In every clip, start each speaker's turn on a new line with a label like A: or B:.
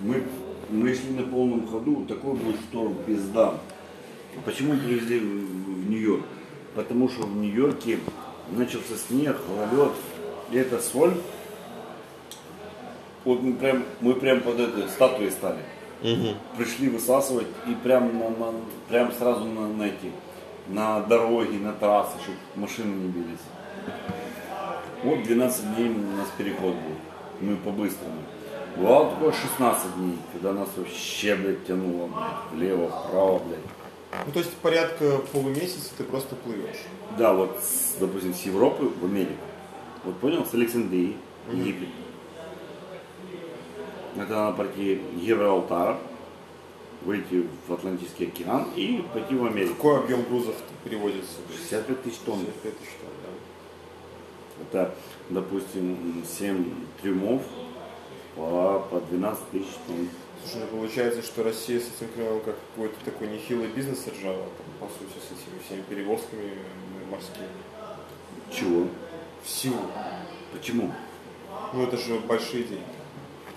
A: Мы, мы шли на полном ходу, такой был шторм, пизда. Почему привезли в, в Нью-Йорк? Потому что в Нью-Йорке начался снег, гололед, и эта соль. Вот мы прям, мы прям под этой статуей стали. Пришли высасывать и прям, на, на- прям сразу на, на эти, на дороги, на трассы, чтобы машины не бились. Вот 12 дней у нас переход был. Мы по-быстрому. Бывало такое 16 дней, когда нас вообще, блядь, тянуло, блядь, влево, вправо, блядь.
B: Ну, то есть порядка полумесяца ты просто плывешь.
A: Да, вот, с, допустим, с Европы в Америку. Вот понял, с Александрии, Египет. Это надо пройти Гибралтар, выйти в Атлантический океан и пойти в Америку.
B: Какой объем грузов переводится?
A: 65 тысяч тонн.
B: 55 тысяч тонн, да.
A: Это, допустим, 7 трюмов по, по 12 тысяч тонн.
B: Слушай, ну получается, что Россия с этим крылом как какой-то такой нехилый бизнес ржала, там, по сути, с этими всеми перевозками м, морскими.
A: Чего?
B: В силу.
A: Почему?
B: Ну это же большие деньги.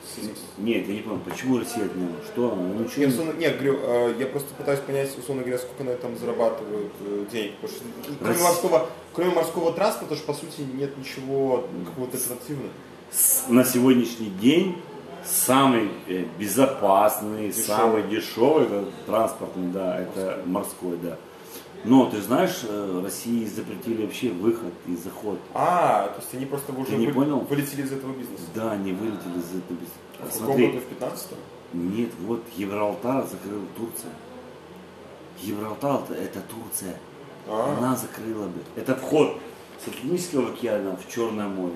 B: С этим-
A: Нет, я не понял, почему Россия отняла? Что она? Ну, ничего
B: Я,
A: не-
B: условно- нет, говорю, э, я просто пытаюсь понять, условно говоря, сколько на этом зарабатывают э, денег. Потому что ну, кроме
A: Россия-
B: морского, кроме морского транспорта, ж, по сути, нет ничего какого-то альтернативного.
A: С- На сегодняшний день самый э, безопасный,
B: Дешевый.
A: самый дешевый это транспортный, да, это морской, да. Но ты знаешь, э, России запретили вообще выход и заход.
B: А, то есть они просто уже
A: Ты не
B: вы-
A: понял?
B: вылетели из этого бизнеса.
A: Да, они вылетели из этого. без-
B: А в каком году?
A: Смотри,
B: В 15
A: нет, вот Гибралтар закрыл Турция. Гибралтар это Турция.
B: А?
A: Она закрыла бы. Это вход с Атлантического океана в Черное море,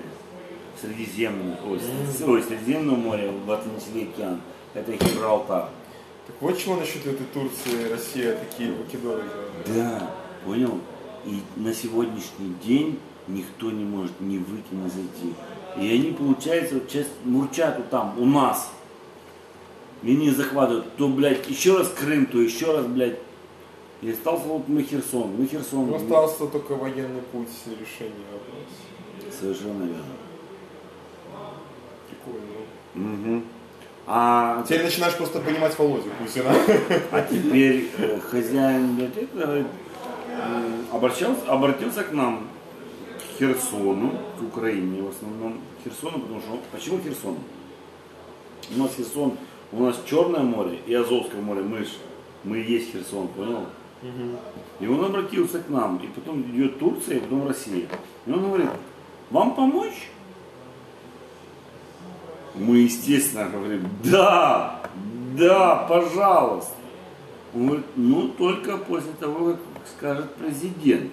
A: в Средиземное, ой, с- ой, Средиземное море в Атлантический океан. Это Гибралтар.
B: Так вот чего насчет этой Турции, Россия, такие Македоны. да.
A: Да, понял? И на сегодняшний день никто не может ни выйти, ни зайти. И они, получается, вот сейчас мурчат вот там, у нас. И не захватывают. То, блядь, еще раз Крым, то еще раз, блядь. И остался вот мы Херсон. Мы Херсон.
B: Ну, остался только военный путь решения вопроса.
A: Совершенно верно.
B: Прикольно.
A: А
B: Теперь начинаешь просто понимать Володю Путина.
A: А теперь э, хозяин библиотеки говорит, м, обращался, обратился к нам, к Херсону, к Украине в основном, к Херсону, потому что, почему Херсон? У нас Херсон, у нас Черное море и Азовское море, мы, ж, мы и есть Херсон, понял? И он обратился к нам, и потом идет Турция, и потом Россия. И он говорит, вам помочь? Мы, естественно, говорим, да, да, пожалуйста. Он говорит, ну только после того, как скажет президент.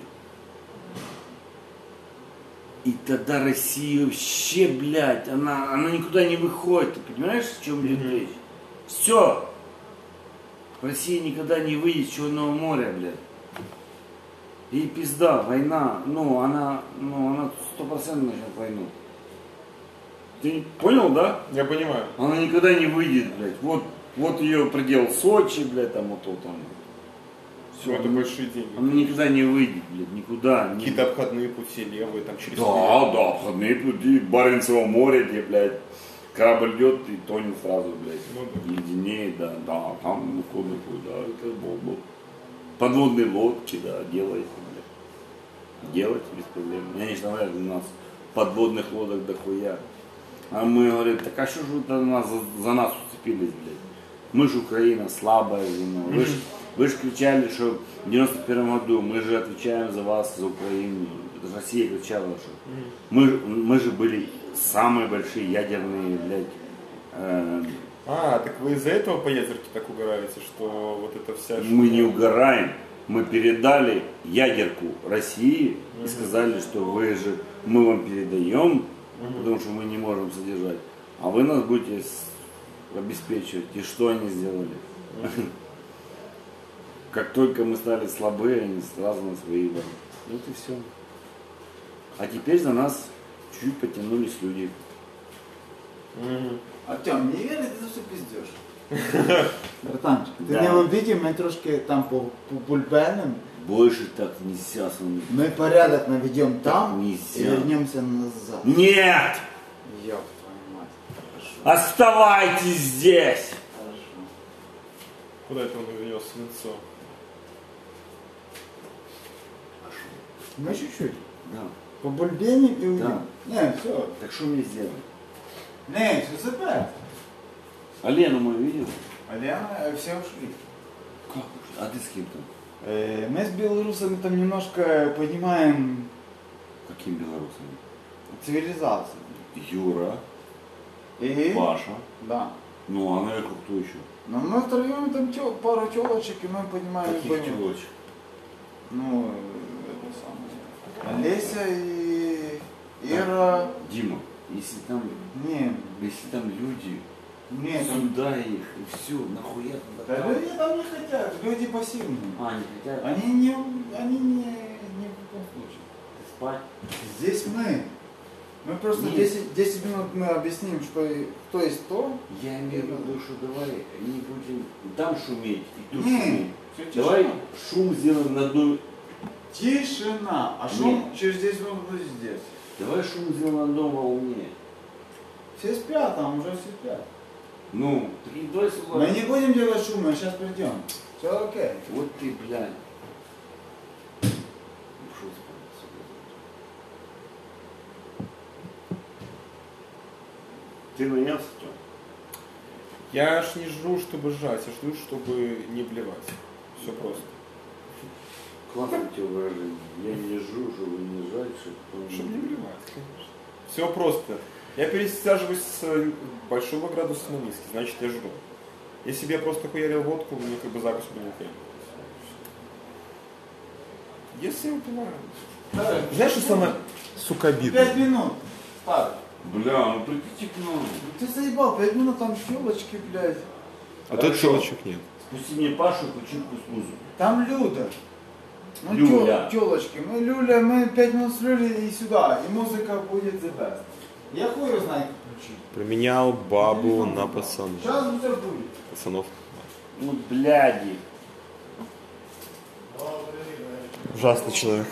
A: И тогда Россия вообще, блядь, она, она никуда не выходит. Ты понимаешь, в чем идет речь? Все. Россия никогда не выйдет из Черного моря, блядь. И пизда, война, ну она, ну она стопроцентно начнет войну. Ты понял, да?
B: Я понимаю.
A: Она никогда не выйдет, блядь. Вот, вот ее предел Сочи, блядь, там вот, вот он.
B: Все, это большие деньги.
A: Она никогда не выйдет, блядь, никуда. не-
B: Какие-то обходные пути левые, там через...
A: Да, да, обходные пути, Баренцево море, где, блядь, корабль идет и тонет сразу, блядь.
B: Ну
A: Единее, да, да, там ну, куда, куда, это бомба. Подводные лодки, да, делайте, блядь. Делайте без проблем. Я не знаю, у нас подводных лодок дохуя. А мы говорим, так а что же вы там нас, за, за нас уцепились, блядь? Мы же Украина, слабая зима. Вы же вы ж кричали, что в 91 году мы же отвечаем за вас, за Украину. Это Россия кричала, что мы, ж- мы же были самые большие ядерные, блядь, э,
B: А, так вы из-за этого по ядерке так угораете, что вот это вся...
A: мы
B: штука-
A: не угораем. Мы передали ядерку России и сказали, что вы же, мы вам передаем, потому что мы не можем содержать, а вы нас будете с- обеспечивать. И что они сделали? Как только мы стали слабые, они сразу нас выебали. Вот и все. А теперь за нас чуть потянулись люди.
C: Артем, не віриш, ти все піздєш. Братанчик, ти
A: Да.
C: не в обіді, ми трошки там по- побульбеним,
A: Больше так нельзя со мной.
C: ми порядок наведемо там
A: Так
C: і
A: нельзя.
C: вернемося назад.
A: Нет!
C: Ёб твою мать. Хорошо.
A: Оставайтесь здесь!
C: Хорошо.
B: Куда это он увез лицо?
D: Мы чуть-чуть.
A: Да.
D: Побульбеним и уйдем.
A: Да.
D: Не, все.
A: Так что мне сделать?
C: Не, все забрать.
A: А Лену мою видел?
C: А Лиана, все ушли.
A: Как? А ты с кем там?
C: Э, Мы с белорусами там немножко понимаем
A: Каким белорусом?
C: цивилизацию.
A: Юра,
C: И?
A: Паша.
C: Да.
A: Ну, а наверху кто еще?
C: Но мы втроем там тё- пару телочек, и мы понимаем,
A: Каких
C: поймем.
A: телочек?
C: Ну, это самое. Олеся и Ира.
A: Дима, если там,
C: Не,
A: если там люди,
C: не, там...
A: сюда их, и все, нахуя туда?
C: Да люди там не хотят, люди пассивные.
A: А, не хотят
C: Они не, они не, не в любом случае.
A: спать?
C: Здесь мы. Мы просто
A: Нет.
C: 10, 10 минут мы объясним, что и- кто есть кто.
A: Я имею в виду, что давай не будем там шуметь и тут
C: Не,
A: шуметь.
C: всё тишина.
A: Давай шум сделаем на одной...
C: Тишина. А шум
A: Не.
C: через 10 минут будет здесь.
A: Давай шум сделаем на одной волне.
C: Все спят, там уже все спят.
A: Ну, ты давай сюда.
C: Мы не будем делать шума, сейчас придем. Все окей.
A: Вот ты, блядь. Ну, Ушел спать отсюда. Ты нанялся, что?
B: Я аж не жру, чтобы жрать, я жду, чтобы не блевать. Все просто.
A: Классно тебе выражение. Я не жру, чтобы не жрать, чтобы...
B: Чтобы не блевать, конечно. Все просто. Я пересаживаюсь с э, большого градуса на низкий, значит я жру. Если бы я просто хуярил водку, мне как бы закусь бы не хуярилась. Если я выпиваю.
C: Давай.
B: Знаешь, что самое, сука,
C: Пять
B: обидное?
C: минут. Пар.
A: Бля, ну прикиньте к нам.
C: Ты заебал, пять минут там щелочки, блядь.
B: А тут щелочек нет.
A: Спусти мне Пашу, включи кукузу.
C: Там Люда. Ну,
A: Люля.
C: Люля. телочки, мы Люля, мы пять минут с Люлей и сюда, и музыка будет the best. Я хуй его знаю, как включить.
B: Променял бабу на пацан.
C: Сейчас все будет.
B: пацанов.
A: Ну, бляди.
B: Ужасный человек.